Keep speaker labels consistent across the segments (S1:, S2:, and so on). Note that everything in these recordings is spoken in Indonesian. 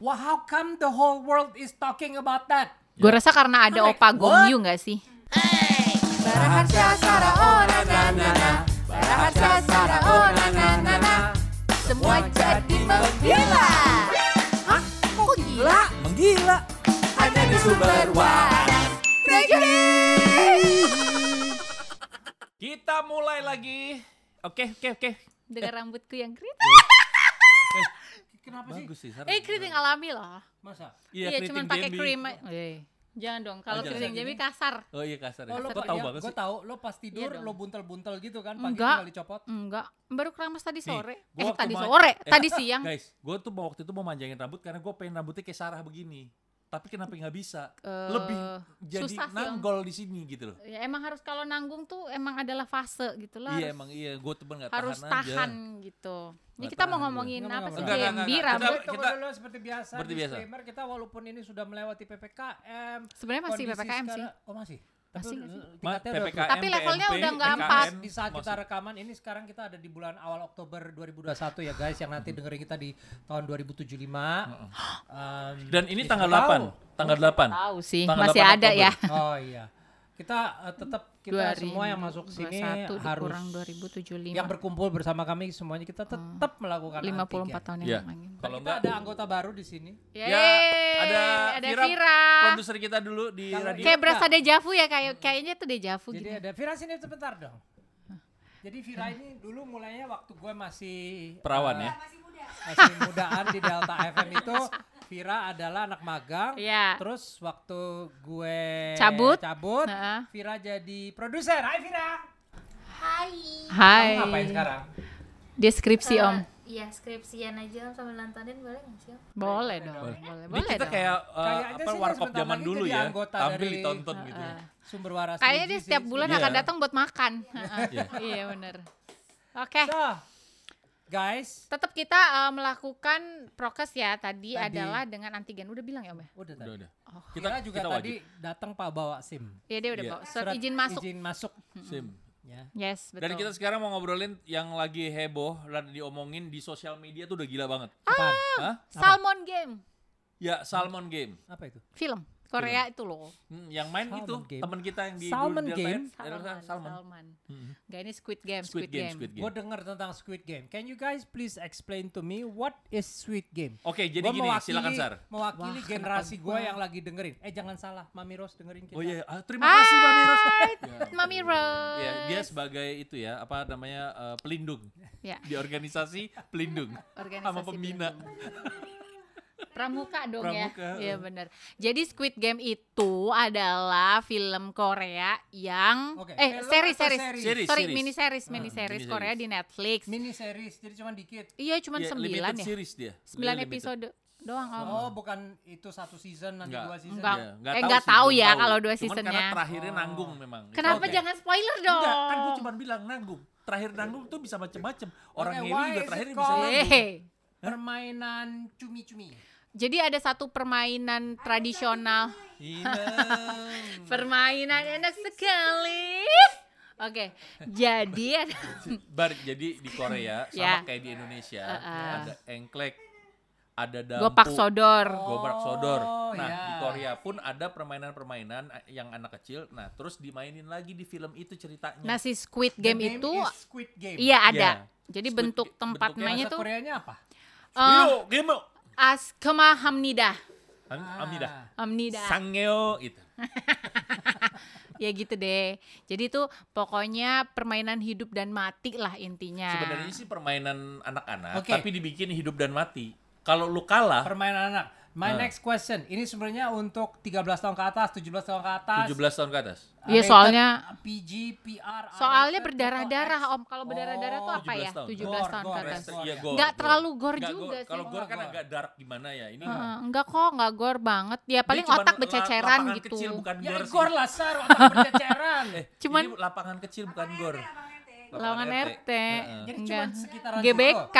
S1: Well, how come the whole world is talking about that?
S2: Gue
S3: Ya.
S2: rasa
S4: Oh
S2: karena ada
S1: I'm like,
S2: Opa
S1: what?
S2: Gongyu nggak sih?
S1: Ya,
S4: Oh,
S1: oh,
S4: Semua jadi menggila Hah? Kok gila?
S3: Menggila.
S4: Hanya di sumber waras
S3: Kita mulai lagi. Oke, oke, oke.
S2: Dengan rambutku yang keriting.
S1: Kenapa sih?
S3: Bagus sih. Sarah.
S2: Eh keriting alami loh.
S1: Masa?
S2: Iya,
S3: Iya. keriting
S2: cuman pakai
S3: Bambi.
S2: krim. Eh, jangan dong. Kalau
S3: jangan.
S2: keriting jambi kasar.
S3: Oh iya kasar.
S1: Oh,
S3: ya.
S1: lo
S3: Kok tahu banget
S1: Gue
S3: sih?
S1: tahu, lo pas tidur,
S2: Iya dong.
S1: lo buntel-buntel gitu kan, pagi
S2: Enggak.
S1: tinggal dicopot.
S2: Enggak, baru keramas tadi sore.
S3: gua
S2: eh
S3: waktu
S2: tadi
S3: ma-
S2: sore,
S3: eh,
S2: tadi siang.
S3: Guys, gue tuh waktu itu mau manjangin rambut karena gue pengen rambutnya kayak Sarah begini. Tapi kenapa nggak bisa?
S2: Eh,
S3: Lebih jadi
S2: susah sih, Om.
S3: nanggol di sini gitu loh.
S2: Ya emang harus kalau nanggung tuh emang adalah fase gitu lah. harus-
S3: Iya emang iya, gue tuh nggak
S2: harus
S3: tahan, aja.
S2: tahan gitu. Ini
S3: Nggak
S2: kita mau
S3: tahan gue.
S2: ngomongin
S1: Nggak,
S2: apa
S1: nggak,
S2: sih
S3: nggak, nggak,
S2: JMB
S3: nggak, nggak.
S2: rambut?
S1: Tapi tunggu
S3: kita-
S1: dulu seperti biasa,
S3: seperti biasa.
S1: disclaimer, kita walaupun ini sudah melewati PPKM.
S2: Sebenarnya masih
S1: kondisi
S2: PPKM sih.
S1: sekarang- Oh masih? Tapi
S2: Masih
S1: udah-
S2: nggak sih?
S3: Ma,
S1: tingkatnya udah
S3: PPKM,
S2: Tapi levelnya
S3: PMP,
S2: udah nggak
S3: PKN,
S2: empat.
S1: di saat kita
S3: maksud-
S1: rekaman ini sekarang kita ada di bulan awal Oktober 2021 ya guys yang nanti dengerin kita di tahun 2075 Um,
S3: Dan ini
S1: ya,
S3: tanggal
S1: siapa
S3: 8, tanggal 8.
S2: Tahu sih,
S3: Tanggal
S2: masih
S3: 8
S2: ada
S3: Oktober.
S2: ya.
S1: tahu. oh iya kita eh, tetap kita semua yang masuk sini
S2: 2021
S1: harus
S2: dikurang 2075.
S1: yang berkumpul bersama kami semuanya kita tetap
S2: Oh.
S1: melakukan antigen.
S2: 54 tahun
S3: Iya.
S2: yang lalu.
S3: Kalau
S1: kita
S3: nggak
S1: ada anggota baru di sini
S3: Ya, ada,
S2: ada
S3: Vira,
S2: Vira.
S3: produser kita dulu di
S1: Kalau
S3: radio.
S2: Kayak berasa dejavu ya kayak kayaknya tuh dejavu gitu.
S1: jadi ada Vira sini sebentar dong jadi Vira ini dulu mulainya waktu gue masih
S3: Perawan
S1: eh,
S3: ya.
S1: masih mudaan di Delta FM itu Vira adalah anak magang.
S2: Iya.
S1: Terus waktu gue
S2: Cabut.
S1: cabut,
S2: Heeh.
S1: Vira jadi produser. Hai Vira.
S2: Hai.
S1: Kamu ngapain sekarang?
S2: Deskripsi Om.
S5: Iya skripsian aja Om, sambil nontonin boleh nggak sih Om?
S2: Boleh dong. Boleh,
S3: Ini
S2: boleh
S3: kita
S2: dong.
S3: kayak uh,
S1: Kayaknya
S3: apa
S1: sih dia
S3: warkop
S1: sebentar
S3: zaman
S1: lagi
S3: dulu
S1: jadi
S3: ya,
S1: anggota
S3: tampil
S1: dari-
S3: ditonton gitu. ya.
S1: Sumber waras.
S2: Kayaknya
S1: Puji
S2: dia
S1: sih,
S2: setiap bulan
S3: Iya.
S2: akan datang buat makan. Heeh. Iya bener. Oke,
S1: So, guys,
S2: tetap kita eh, melakukan prokes ya tadi,
S1: Tadi.
S2: adalah dengan antigen. Udah bilang ya Om ya?
S1: udah tadi.
S3: Udah, udah.
S1: Kita juga
S3: kita
S1: tadi datang Pak bawa SIM.
S2: Iya dia udah
S3: Iya.
S2: bawa surat izin masuk.
S1: Izin masuk.
S3: wajib SIM.
S1: Ya.
S2: Yes, betul.
S3: Dan kita sekarang mau ngobrolin yang lagi heboh, lagi diomongin di sosial media tuh udah gila banget.
S2: Ah.
S1: Apaan?
S3: Hah?
S2: Salmon Game,
S3: Ya Salmon Game.
S1: Apa itu?
S2: film Korea itu loh.
S3: Hmm, yang main
S1: Salmon
S3: itu
S1: Game.
S3: teman kita yang di
S1: Salmon
S3: Delta
S1: Game?
S3: Air- Air-
S2: Salmon.
S3: Salmon.
S2: Salmon.
S3: Mhm.
S2: Gak ini Squid Game,
S3: Squid Game, Squid Game.
S1: Gue denger tentang Squid Game. Can you guys please explain to me what is Squid Game?
S3: Oke, jadi
S1: Gua
S3: gini, silakan Sar.
S1: Mewakili
S2: Wah,
S1: generasi
S2: kenapa
S1: gue
S2: gua?
S1: yang lagi dengerin. Eh jangan salah, Mami Rose dengerin kita.
S3: Oh iya, ah, terima kasih Mbak Mira.
S2: Hai, Mami Rose.
S3: Ya, dia sebagai itu ya, apa namanya eh, pelindung
S2: Ya,
S3: di organisasi pelindung
S2: organisasi
S3: sama pembina.
S2: pelindung. Pramuka dong ya.
S3: Pramuka,
S2: Iya
S3: eh.
S2: benar. Jadi Squid Game itu adalah film Korea yang
S1: Oke,
S2: eh
S1: film
S2: seri
S1: atau
S2: seri.
S1: series?
S3: Series,
S2: Sorry,
S3: series.
S2: mini series,
S3: Ah,
S2: mini series
S3: miniseries.
S2: Korea di Netflix.
S1: Mini series, jadi cuma dikit.
S2: iya, cuman
S3: Ya,
S2: sembilan
S3: limited
S2: ya.
S3: series dia.
S2: Sembilan
S3: Limited.
S2: episode doang Om.
S1: Oh, bukan itu satu season nanti
S3: Enggak.
S1: dua season.
S2: Enggak.
S3: Ya,
S2: Eh, nggak tahu
S3: belum
S2: ya kalau dua
S3: Cuman
S2: seasonnya.
S3: karena terakhirnya nanggung memang.
S2: Kenapa
S3: Oke.
S2: jangan spoiler dong?
S3: Oh. Enggak, kan gue cuma bilang nanggung. Terakhir nanggung tuh bisa macem-macem. Orang
S1: Oke,
S3: Harry
S1: why
S3: juga
S1: is it
S3: terakhir bisa
S1: called-
S3: nanggung.
S2: Hehe.
S1: Permainan cumi-cumi.
S2: Jadi ada satu permainan tradisional.
S3: Inang.
S2: Permainan enak sekali. Oke, jadi ada
S3: Bar jadi di Korea
S2: Ya.
S3: sama kayak di Indonesia
S2: Uh-uh.
S3: ada engklek, ada dampu,
S2: gopak sodor.
S3: gobrak sodor.
S1: Oh,
S3: Nah,
S1: ya.
S3: di Korea pun ada permainan-permainan yang anak kecil. Nah, terus dimainin lagi di film itu ceritanya.
S2: Nah, si Squid Game
S1: The name
S2: itu
S1: is Squid Game.
S2: iya ada.
S3: Iya.
S2: Jadi
S3: Squid
S2: bentuk
S3: Game-
S2: tempat
S3: bentuknya
S2: mainnya
S1: Bahasa
S2: tuh
S1: Koreanya apa?
S2: eh
S3: Yo, game.
S2: Askema Hamnida.
S3: Am- Amida. gitu.
S2: Hamnida.
S3: Sangeo itu.
S2: Ya gitu deh. Jadi itu pokoknya permainan hidup dan mati lah intinya.
S3: Sebenarnya sih permainan anak-anak,
S1: Oke.
S3: tapi dibikin hidup dan mati. Kalau lu kalah,
S1: Permainan anak. My
S3: Ah.
S1: next question. Ini sebenarnya untuk 13 tahun ke atas, 17 tahun ke atas.
S3: 17 tahun ke atas.
S2: Iya,
S1: Rated
S2: soalnya-
S1: PG, PR,
S2: Ah, Soalnya
S1: R-rated,
S2: berdarah-darah
S1: total X.
S2: Om. Kalau berdarah-darah tuh
S1: Oh,
S2: apa ya?
S3: 17 tahun.
S2: 17
S1: Gore,
S2: tahun kan? ke
S1: gore,
S2: atas.
S1: gore.
S3: Iya,
S1: Nggak
S3: gore,
S2: Nggak
S3: gore.
S2: terlalu gore
S3: Nggak
S2: juga
S3: gore.
S2: sih.
S3: Kalau gore kan
S1: Nggak gore.
S3: agak dark gimana ya ini.
S2: Eh, enggak kok, enggak gore banget. Ya paling
S3: Dia cuman
S2: otak
S3: la-
S2: bececeran
S3: lapangan
S2: gitu.
S3: Kecil, bukan
S1: Ya
S3: gore sih.
S1: gor lah sar, otak berceceran.
S3: Eh,
S2: Cuman-
S3: ini lapangan kecil bukan gor.
S2: Lawangan RT.
S3: Heeh.
S1: Jadi
S2: Enggak.
S1: cuma sekitaran
S2: GBK.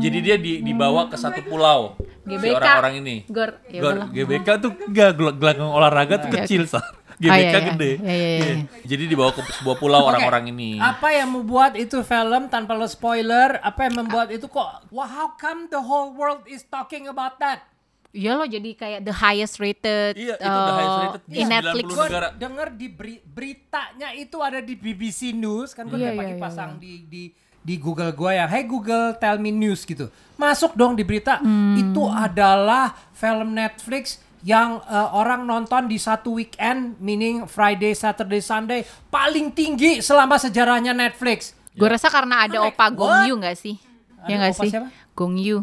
S3: Jadi dia di- dibawa ke satu pulau. Si
S2: GBK.
S3: orang-orang ini.
S2: Gor. Ya
S3: Gor,
S2: udahlah.
S3: GBK tuh enggak gel- gelanggang olahraga tuh
S2: Oke,
S3: kecil, Sar.
S2: Ah, iya,
S3: GBK
S2: iya.
S3: gede.
S2: Iya, iya, iya.
S3: Iya. Jadi dibawa ke sebuah pulau orang-orang ini.
S1: Apa yang membuat itu film tanpa lo spoiler? Apa yang membuat itu kok? Wah, how come the whole world is talking about that?
S2: Iya loh jadi kayak the highest rated
S3: Iya, itu the highest
S2: eh,
S3: rated di
S2: in
S3: 90
S2: Netflix.
S1: Gue
S3: negara.
S1: denger di beri- beritanya itu ada di BBC News kan gue
S2: Iya,
S1: tiap
S2: iya,
S1: pagi
S2: iya,
S1: pasang di di di Google gue yang Hey Google tell me news gitu masuk dong di berita
S2: Hmm.
S1: itu adalah film Netflix yang eh, orang nonton di satu weekend meaning Friday Saturday Sunday paling tinggi selama sejarahnya Netflix
S2: Gue rasa karena ada
S1: I'm like,
S2: Opa Gong
S1: what?
S2: Yu nggak sih?
S1: Oh Ada
S2: ya nggak
S1: Opa
S2: sih?
S1: siapa?
S2: Gong Yu.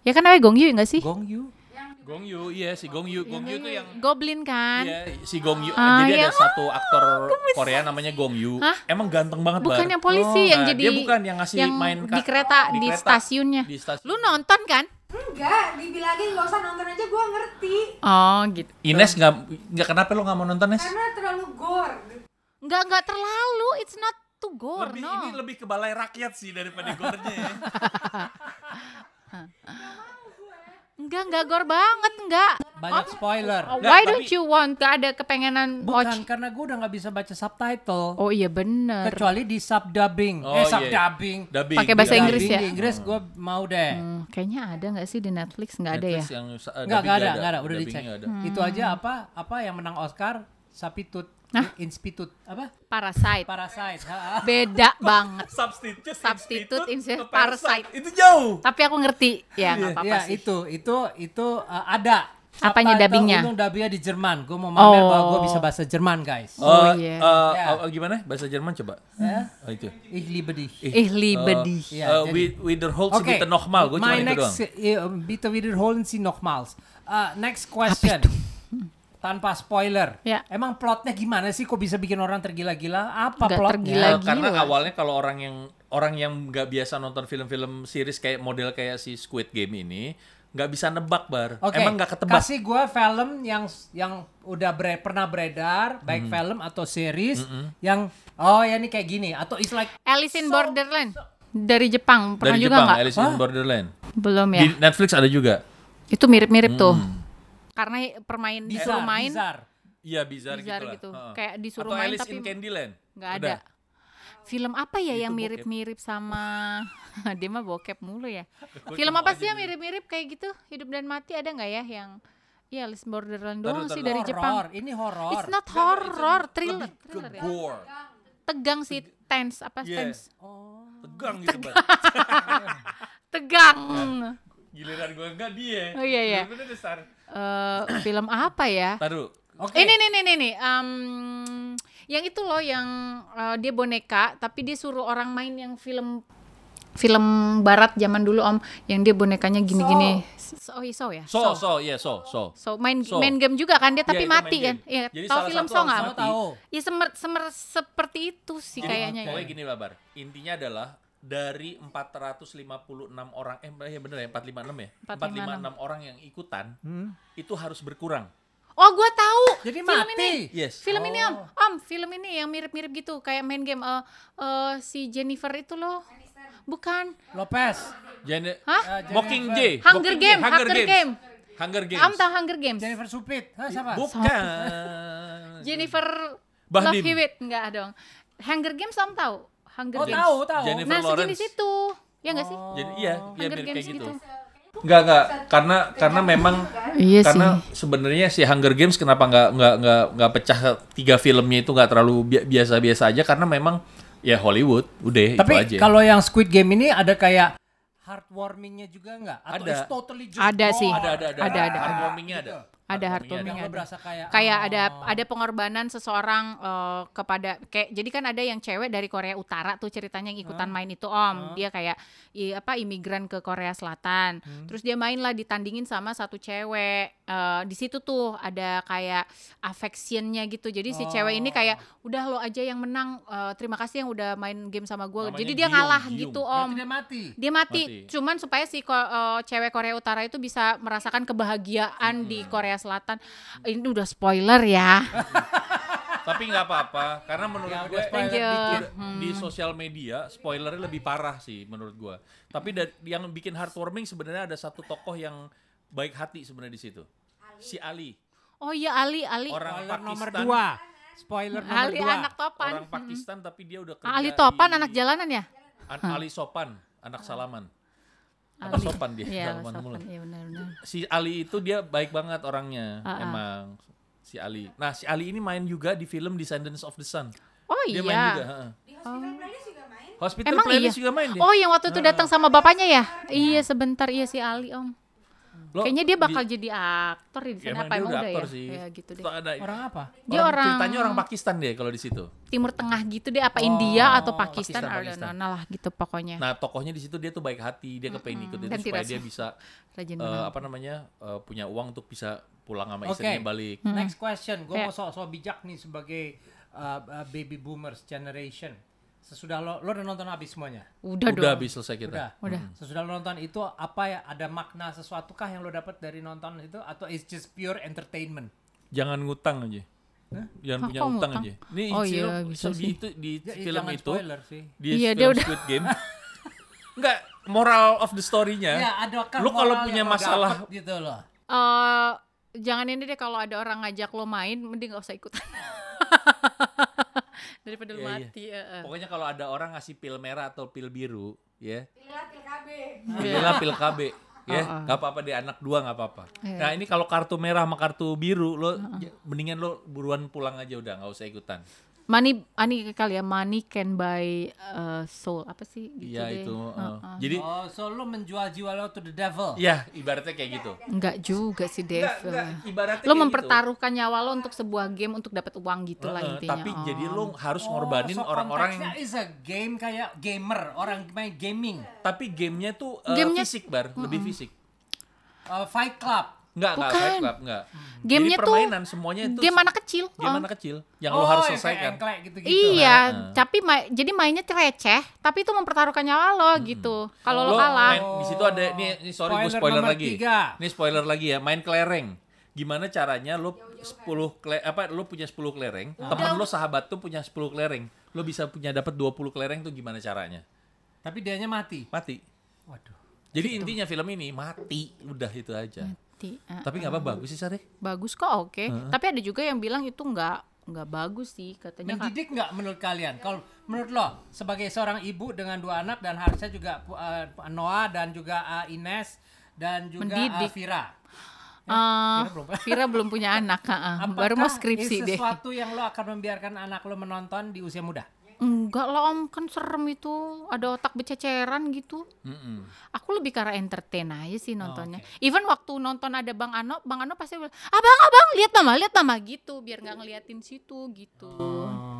S2: Ya kan namanya Gong Yu nggak sih?
S1: Gong Yu
S3: Gong Yu, iya si Gong Yu. Gong Yu tuh yang
S2: Goblin kan?
S3: Iya, si Gong Yu.
S2: Ah,
S3: Jadi
S2: iya.
S3: ada satu aktor Korea namanya Gong Yu.
S2: Hah?
S3: Emang ganteng banget
S2: Bukan
S3: Bar.
S2: yang polisi
S3: Oh.
S2: yang
S3: Nah,
S2: jadi
S3: dia bukan yang ngasih main
S2: di
S3: ka-
S2: kereta
S3: di
S2: di,
S3: kereta.
S2: stasiunnya.
S3: Di stasiun.
S2: Lu nonton kan?
S4: Enggak, dibilangin gak usah nonton aja gue ngerti
S2: Oh gitu.
S3: Ines nggak nggak kenapa lo nggak mau nonton Nes?
S4: Karena terlalu gore
S2: Nggak nggak terlalu. It's not too gore.
S3: Lebih
S2: no.
S3: ini lebih ke balai rakyat sih daripada gornya. ya.
S2: Nggak nggak gore banget nggak.
S1: banyak spoiler
S2: Oh,
S3: Nggak,
S2: why
S3: tapi-
S2: don't you want? Gak ada kepengenan watch.
S1: bukan karena gue udah nggak bisa baca subtitle
S2: Oh iya bener.
S1: kecuali di sub dubbing
S3: Oh,
S1: eh
S3: iya.
S1: sub dubbing
S3: Dubbing, iya.
S2: Pakai bahasa
S3: dubbing.
S2: Inggris ya?
S1: Di Inggris gue mau deh
S2: Hmm, kayaknya ada nggak sih di Netflix? Nggak ada ya?
S3: Netflix yang sa-
S1: Enggak,
S3: dubbing
S1: enggak ada, enggak ada, udah
S3: Dubbingnya
S1: dicek.
S3: nggak
S2: Hmm.
S3: ada.
S1: Itu aja apa apa yang menang Oscar? Sapitut,
S2: Hah?
S1: Institute, apa?
S2: Parasite.
S1: Parasite. ha, ha.
S2: Beda banget.
S3: Substitute,
S2: Substitute,
S3: Institute,
S2: Institute, Parasite.
S3: Itu jauh.
S2: Tapi aku ngerti. Ya nggak apa-apa
S1: Iya,
S2: sih.
S1: itu, itu, itu uh, ada.
S2: Apanya,
S1: Subtitle,
S2: dubbingnya?
S1: Untung dubbingnya di Jerman. Gue mau pamer
S2: Oh.
S1: bahwa gue bisa bahasa Jerman, guys.
S2: Oh,
S3: Eh,
S2: iya.
S3: eh,
S1: Ya.
S3: eh, gimana bahasa Jerman coba?
S1: Ya.
S3: Oh, itu.
S1: Ich liebe dich.
S2: Ih libedi.
S3: Eh,
S1: Iya,
S3: eh,
S1: jadi-
S3: with with the whole bit nochmal, gue cuma
S1: My
S3: itu doang.
S1: next, eh, bitte wiederholen Sie nochmals. Uh, next question. Tanpa spoiler.
S2: Ya.
S1: Emang plotnya gimana sih? Kok bisa bikin orang tergila-gila? Apa
S2: Nggak
S1: plotnya?
S2: tergila.
S3: Eh,
S2: Gila-gila.
S3: karena awalnya kalau orang yang orang yang nggak biasa nonton film-film series kayak model kayak si Squid Game ini nggak bisa nebak bar.
S1: Oke.
S3: Emang nggak ketebak.
S1: Kasih gue film yang yang udah bre- pernah beredar,
S3: Hmm.
S1: baik film atau series yang oh ya ini kayak gini atau it's like
S2: Alice in Borderland dari Jepang pernah
S3: Dari
S2: juga
S3: Jepang,
S2: nggak?
S3: Alice in Borderland.
S2: Belum ya.
S3: Di Hmm. Netflix ada juga.
S2: Itu mirip-mirip tuh. Karena permain
S1: bizarre,
S2: disuruh main
S1: bizarre.
S3: Iya, bizarre,
S2: Bizarre
S3: lah.
S2: gitu.
S3: Heeh.
S2: Kayak disuruh
S3: Atau
S2: main
S3: Alice
S2: tapi
S3: in Candyland.
S2: nggak
S3: Udah.
S2: ada. Film apa ya yang
S3: bokep.
S2: mirip-mirip sama dia mah bokep mulu ya. Film apa sih yang mirip-mirip kayak gitu? Hidup dan mati ada nggak ya yang Iya, Alice in Borderland
S3: Bentar,
S2: doang
S3: bentar,
S2: sih dari
S1: Horror.
S2: Jepang.
S1: Ini horor.
S2: It's not horror, thriller.
S3: Lebih ke
S2: thriller ya.
S3: gore.
S2: Tegang sih, tense apa
S3: Iya.
S2: tense?
S3: Tegang gitu, Bar.
S2: Tegang.
S3: Giliran gue enggak dia.
S2: Oh, iya, iya.
S3: Bener besar.
S2: Eh, film apa ya?
S3: Taruh.
S1: Oke.
S2: Ini nih nih nih nih. em, yang itu loh yang eh, dia boneka tapi dia suruh orang main yang film film barat zaman dulu Om yang dia bonekanya gini-gini. So, oh, so ya.
S3: So, so, iya, so, so.
S2: So main
S3: So.
S2: main game juga kan dia tapi
S3: Iya, itu
S2: mati
S3: main
S2: kan.
S3: game.
S2: Iya,
S3: Jadi
S2: tahu
S3: salah
S2: film
S3: satu
S2: so
S3: harus
S2: nggak?
S1: Tahu tahu.
S2: Ya semer, semer seperti itu sih kayaknya ya.
S3: Pokoknya gini Babar, intinya adalah dari 456 orang, eh ya bener ya 456 ya?
S2: 456
S3: 456, orang yang ikutan, itu harus berkurang.
S2: Oh, gua tahu.
S1: Jadi
S2: Film
S1: mati.
S2: ini.
S3: Yes. Oh.
S2: Film ini Om, Om, film ini yang mirip-mirip gitu kayak main game eh eh, si Jennifer itu loh. Bukan.
S1: Lopez.
S3: Jadi,
S2: Hah?
S3: Mockingjay.
S2: Hunger
S3: Mockingjay,
S2: Game,
S3: Hunger
S2: Hunger
S3: Games.
S2: Game.
S3: Hunger Games.
S2: Om tahu Hunger Games?
S1: Jennifer Supit.
S3: Iya,
S1: Hah, siapa?
S3: Bukan.
S2: Jennifer
S3: Bahdim.
S2: Love Hewitt enggak dong. Hunger Games Om tahu? Hunger
S1: Oh,
S2: Games.
S1: tahu, tahu.
S3: Jennifer
S2: Nah, segini
S3: Lawrence.
S2: situ. Ya enggak sih?
S3: Jadi iya, iya
S2: Hunger
S3: mirip
S2: Games
S3: kayak gitu.
S2: gitu.
S3: Enggak, enggak. Karena karena memang
S2: Iya
S3: karena sebenarnya si Hunger Games kenapa nggak nggak nggak nggak pecah tiga filmnya itu nggak terlalu bi- biasa-biasa aja karena memang ya Hollywood udah
S1: Tapi
S3: itu aja.
S1: kalau yang Squid Game ini ada kayak heartwarmingnya juga nggak? Atau
S3: Ada.
S1: it's totally just
S2: Ada
S1: gore?
S2: sih.
S3: ada ada ada
S2: Ada, ada, ada.
S3: Heartwarming-nya Iya, ada.
S2: Ada
S1: Yang
S2: heartwarming.
S1: lo berasa kayak
S2: Kayak ada
S1: oh.
S2: ada pengorbanan seseorang eh, kepada kayak jadi kan ada yang cewek dari Korea Utara tuh ceritanya yang ikutan main itu Om. Dia kayak i- apa imigran ke Korea Selatan.
S1: Hmm.
S2: Terus dia main lah ditandingin sama satu cewek. Eh, di situ tuh ada kayak affection-nya gitu. Jadi si cewek ini kayak
S1: Oh.
S2: udah lo aja yang menang. Eh, terima kasih yang udah main game sama gua.
S3: Namanya
S2: Jadi dia
S3: Giung,
S2: ngalah
S3: Giung.
S2: gitu Om.
S1: Berarti dia mati.
S2: Dia mati.
S3: Mati.
S2: Cuman supaya si ko- eh, cewek Korea Utara itu bisa merasakan kebahagiaan
S3: Iya.
S2: di Korea Selatan. Ini udah spoiler ya.
S3: Tapi nggak apa-apa karena menurut
S1: Ya,
S3: gue
S1: udah spoiler
S2: Thank you.
S1: dikit. Hmm.
S3: udah- di sosial media spoilernya lebih parah sih menurut gue. Tapi da- yang bikin heartwarming sebenarnya ada satu tokoh yang baik hati sebenarnya di situ. Si Ali,
S2: Oh iya Ali, Ali.
S3: orang
S1: Spoiler nomor
S3: Pakistan.
S1: dua. Spoiler nomor
S2: Ali
S1: dua.
S2: anak topan.
S3: Orang Pakistan
S1: Nah,
S3: tapi dia udah kerja
S2: Ali topan
S3: di-
S2: anak jalanan ya?
S3: An- Ali Sopan, anak Salaman. Agak sopan dia
S2: Iya,
S3: kalau
S2: sopan.
S3: mulut.
S2: Iya, benar-benar.
S3: si Ali itu dia baik banget orangnya
S2: Ah, ah.
S3: emang si Ali. Nah si Ali ini main juga di film Descendants of the Sun.
S2: Oh iya.
S3: Dia
S2: Oh.
S3: main juga. heeh.
S4: Di hospital playlist juga main.
S3: Hospital
S2: Emang
S3: Playlist
S2: iya?
S3: juga main dia.
S2: Oh, yang waktu itu
S3: Heeh.
S2: datang sama bapaknya ya? Iya, sebentar iya si Ali, Om.
S3: Lo,
S2: Kayaknya dia bakal
S3: di-
S2: jadi aktor di sana apa
S3: emang dia
S2: emang
S3: udah
S2: udah
S3: aktor
S2: ya?
S3: sih.
S2: Ya gitu deh.
S3: Tuh ada,
S1: Orang apa?
S2: Dia orang-
S3: ceritanya orang Pakistan deh kalau di situ.
S2: Timur Tengah gitu deh apa
S1: Oh,
S2: India atau
S3: Pakistan,
S2: Pakistan, I don't
S3: Pakistan.
S2: know lah gitu pokoknya.
S3: Nah tokohnya di situ dia tuh baik hati, dia kepengen ikut itu
S2: Dan
S3: supaya
S2: tidak
S3: dia
S2: su-
S3: bisa
S2: Rajin
S3: eh,
S2: banget.
S3: apa namanya eh, punya uang untuk bisa pulang sama
S1: Oke.
S3: istrinya balik.
S1: Next question, gue
S2: Ya.
S1: mau sok-sok bijak nih sebagai uh, uh, baby boomers generation. Sesudah lo, lo udah nonton habis semuanya?
S2: Udah,
S3: Udah, Hmm.
S2: dong.
S3: habis selesai kita.
S1: Udah.
S2: Udah.
S1: Sesudah lo nonton itu apa ya? Ada makna sesuatu kah yang lo dapat dari nonton itu atau it's just pure entertainment?
S3: Jangan ngutang aja. Jangan
S2: Hah,
S3: punya
S2: kok
S3: utang
S2: ngutang?
S3: aja. Ini
S2: Oh
S3: Ciro,
S2: iya, bisa
S3: so di
S2: sih.
S3: itu di
S1: Ya, eh,
S3: film
S1: jangan
S3: itu
S1: spoiler sih.
S3: di
S2: Iya, dia
S3: film
S2: udah-
S3: Squid Game. Enggak, moral of the story-nya.
S1: Ya, adakah
S3: lu kalau
S1: moral
S3: punya
S1: yang lo
S3: masalah
S1: dapet gitu loh.
S2: Eh, jangan ini deh kalau ada orang ngajak lo main mending gak usah ikutan. Daripada lo
S3: Iya, iya.
S2: mati. eh, eh.
S3: Pokoknya kalau ada orang ngasih pil merah atau pil biru, ya.
S4: Pilar PKB.
S3: Pilihlah pil KB, ya.
S2: Iya. Oh, oh.
S3: Nggak apa-apa deh anak dua nggak apa-apa.
S2: Iya.
S3: Nah, ini kalau kartu merah sama kartu biru lo j- mendingan lo buruan pulang aja udah nggak usah ikutan.
S2: Money, ani kali ya money can buy eh, soul apa sih gitu
S3: Iya
S2: deh.
S3: itu.
S2: Eh,
S3: heeh.
S2: eh.
S3: Jadi
S1: Oh, so lo menjual jiwa lo to the devil.
S3: ya ibaratnya kayak gitu.
S2: Enggak juga sih Dev.
S3: Nggak, nggak, ibaratnya
S2: Iya, Lo
S3: kayak gitu.
S2: mempertaruhkan nyawa lo untuk sebuah game untuk dapat uang gitu lah
S3: Heeh,
S2: intinya.
S3: Eh, tapi jadi
S2: Om.
S3: lo harus
S1: Oh,
S3: ngorbanin
S1: so
S3: orang-orang yang
S1: konteksnya is a game kayak gamer, orang main gaming,
S3: tapi gamenya tuh eh,
S2: Gamenya-
S3: fisik bar, lebih fisik.
S1: Uh, fight club.
S3: Enggak, enggak,
S2: Bukan. Mm.
S3: Fight Club, enggak.
S2: Gamenya
S3: Jadi
S2: tuh
S3: permainan semuanya itu
S2: game anak kecil.
S3: game
S2: Om.
S3: anak kecil yang lo harus
S1: Oh, yang kayak
S3: selesaikan.
S1: engklek gitu-gitu.
S2: Iya,
S3: Nah.
S2: tapi ma- jadi mainnya receh, tapi itu mempertaruhkan nyawa lo gitu. Kalau lo
S3: Lo
S2: kalah,
S3: main- di situ ada ini, ini sorry
S1: Oh,
S3: gue
S1: Spoiler
S3: spoiler
S1: nomor
S3: lagi.
S1: tiga.
S3: Ini spoiler lagi ya, main kelereng. Gimana caranya lo 10 kle, apa lo punya 10 kelereng, teman lo sahabat tuh punya 10 kelereng. Lo bisa punya dapat 20 kelereng tuh gimana caranya?
S1: Tapi dianya mati.
S3: Mati.
S1: Waduh.
S3: Jadi
S2: Gitu.
S3: intinya film ini mati, udah itu aja.
S2: Ti- eh,
S3: Tapi nggak apa-apa, bagus sih Sari.
S2: bagus kok oke. Tapi ada juga yang bilang itu nggak nggak bagus sih katanya. kan. Kak.
S1: Mendidik nggak menurut kalian? Kalau menurut lo sebagai seorang ibu dengan dua anak dan harusnya juga uh, Noah dan juga uh, Ines dan juga uh,
S2: Mendidik.
S1: Vira.
S2: Eh,
S1: Vira belum.
S2: Vira belum punya anak, heeh. baru mau
S1: Apakah
S2: skripsi
S1: ini
S2: deh.
S1: sesuatu yang lo akan membiarkan anak lo menonton di usia muda?
S2: Enggak lah om, kan serem itu, ada otak bececeran gitu.
S3: Mm-mm.
S2: Aku lebih karena entertain aja sih nontonnya.
S1: Oh,
S2: Even waktu nonton ada Bang Ano, Bang Ano pasti bilang, abang abang lihat mama, lihat mama gitu, biar nggak ngeliatin situ gitu.
S1: Oh.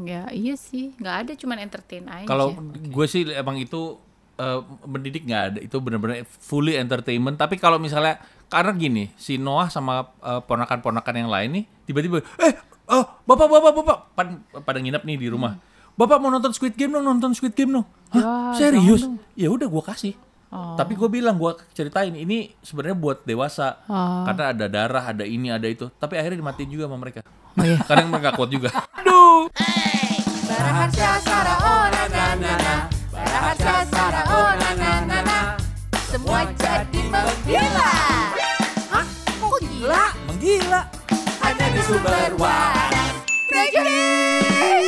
S2: Ya iya sih, nggak ada cuman entertain aja.
S3: Kalau gue Iya sih emang itu eh, mendidik nggak ada, itu benar-benar fully entertainment. Tapi kalau misalnya karena gini, si Noah sama eh, ponakan-ponakan yang lain nih tiba-tiba, eh, oh, bapak, bapak, bapak, Pan- pada nginep nih di rumah. Bapak mau nonton Squid Game dong, nonton Squid Game dong. Hah, serius? Ya udah gue kasih. Tapi gue bilang gue ceritain ini sebenarnya buat dewasa karena ada darah, ada ini, ada itu. Tapi akhirnya dimatiin juga sama mereka. Karena mereka kuat juga.
S6: oh, semua jadi menggila. Hah? Kok gila? Menggila. Hanya di sumber waras. Reggae.